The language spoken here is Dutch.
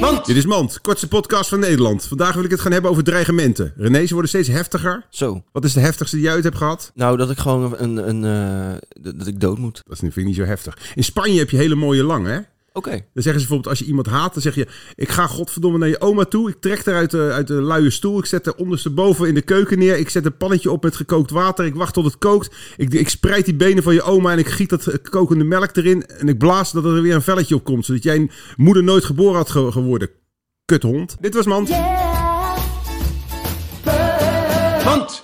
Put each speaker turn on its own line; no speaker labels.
Mand.
Dit is Mand, kortste podcast van Nederland. Vandaag wil ik het gaan hebben over dreigementen. René, ze worden steeds heftiger.
Zo.
Wat is de heftigste die jij uit hebt gehad?
Nou, dat ik gewoon een... een eh, dat dat ik dood moet.
Dat vind ik niet zo heftig. In Spanje heb je hele mooie lang, hè?
Oké.
Dan zeggen ze bijvoorbeeld, als je iemand haat, dan zeg je... Ik ga godverdomme naar je oma toe. Ik trek haar uit de, uit de luie stoel. Ik zet haar ondersteboven in de keuken neer. Ik zet een pannetje op met gekookt water. Ik wacht tot het kookt. Ik, ik spreid die benen van je oma en ik giet dat eh, kokende melk erin. En ik blaas dat er weer een velletje op komt. Zodat jij moeder nooit geboren had ge- geworden. Kuthond. Dit was Mand.
Yeah.
Mand!